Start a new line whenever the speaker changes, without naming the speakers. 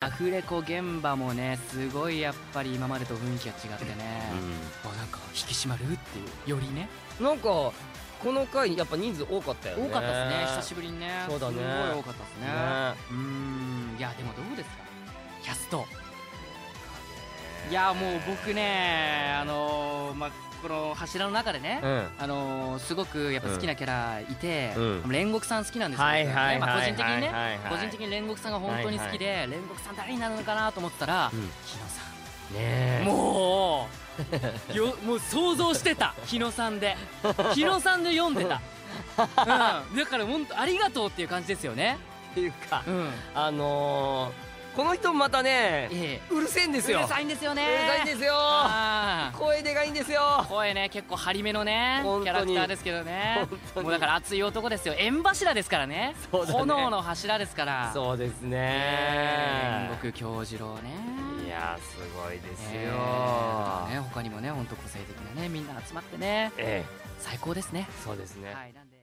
アフレコ現場もねすごいやっぱり今までと雰囲気が違ってね、あなんか引き締まるっていうよりね
なんかこの回やっぱ人数多かったよね
多かったですね久しぶりにね
そうだね
すごい多かったですねうーんいやでもどうですかキャストいやもう僕ねあのーまあこの柱の中でね、
ね
あのーすごくやっぱ好きなキャラいて、
うん
煉獄さん好きなん
う
で
ん
すよ、
はいはいはい
ねまあ個人的にね、
はいはい
個人的に煉獄さんが本当に好きで、煉獄さん誰になるのかなと思ってたら、
うん
日野さん
ねえ
もうよもう想像して た日野さんで日野さんで読んでた、うん、だから本当ありがとうっていう感じですよね
っていうか
うん
あのー、この人またね
ええ
うるせえんです
う
よ
るさいんですよね
うるさいんですよ
あー
声でかいんですよ
声ね結構張り目のねキ
本当に
ャラクターですけどね
本当に
もうだから熱い男ですよ縁柱ですからね
そうだね
炎の柱ですから
そうです
ね
ね
煉獄京次郎ね
いやすごいです
ね
よ
あとね他にもね本当個性的なねみんな集まってね
ええ
最高ですね
そうですね
はいなんで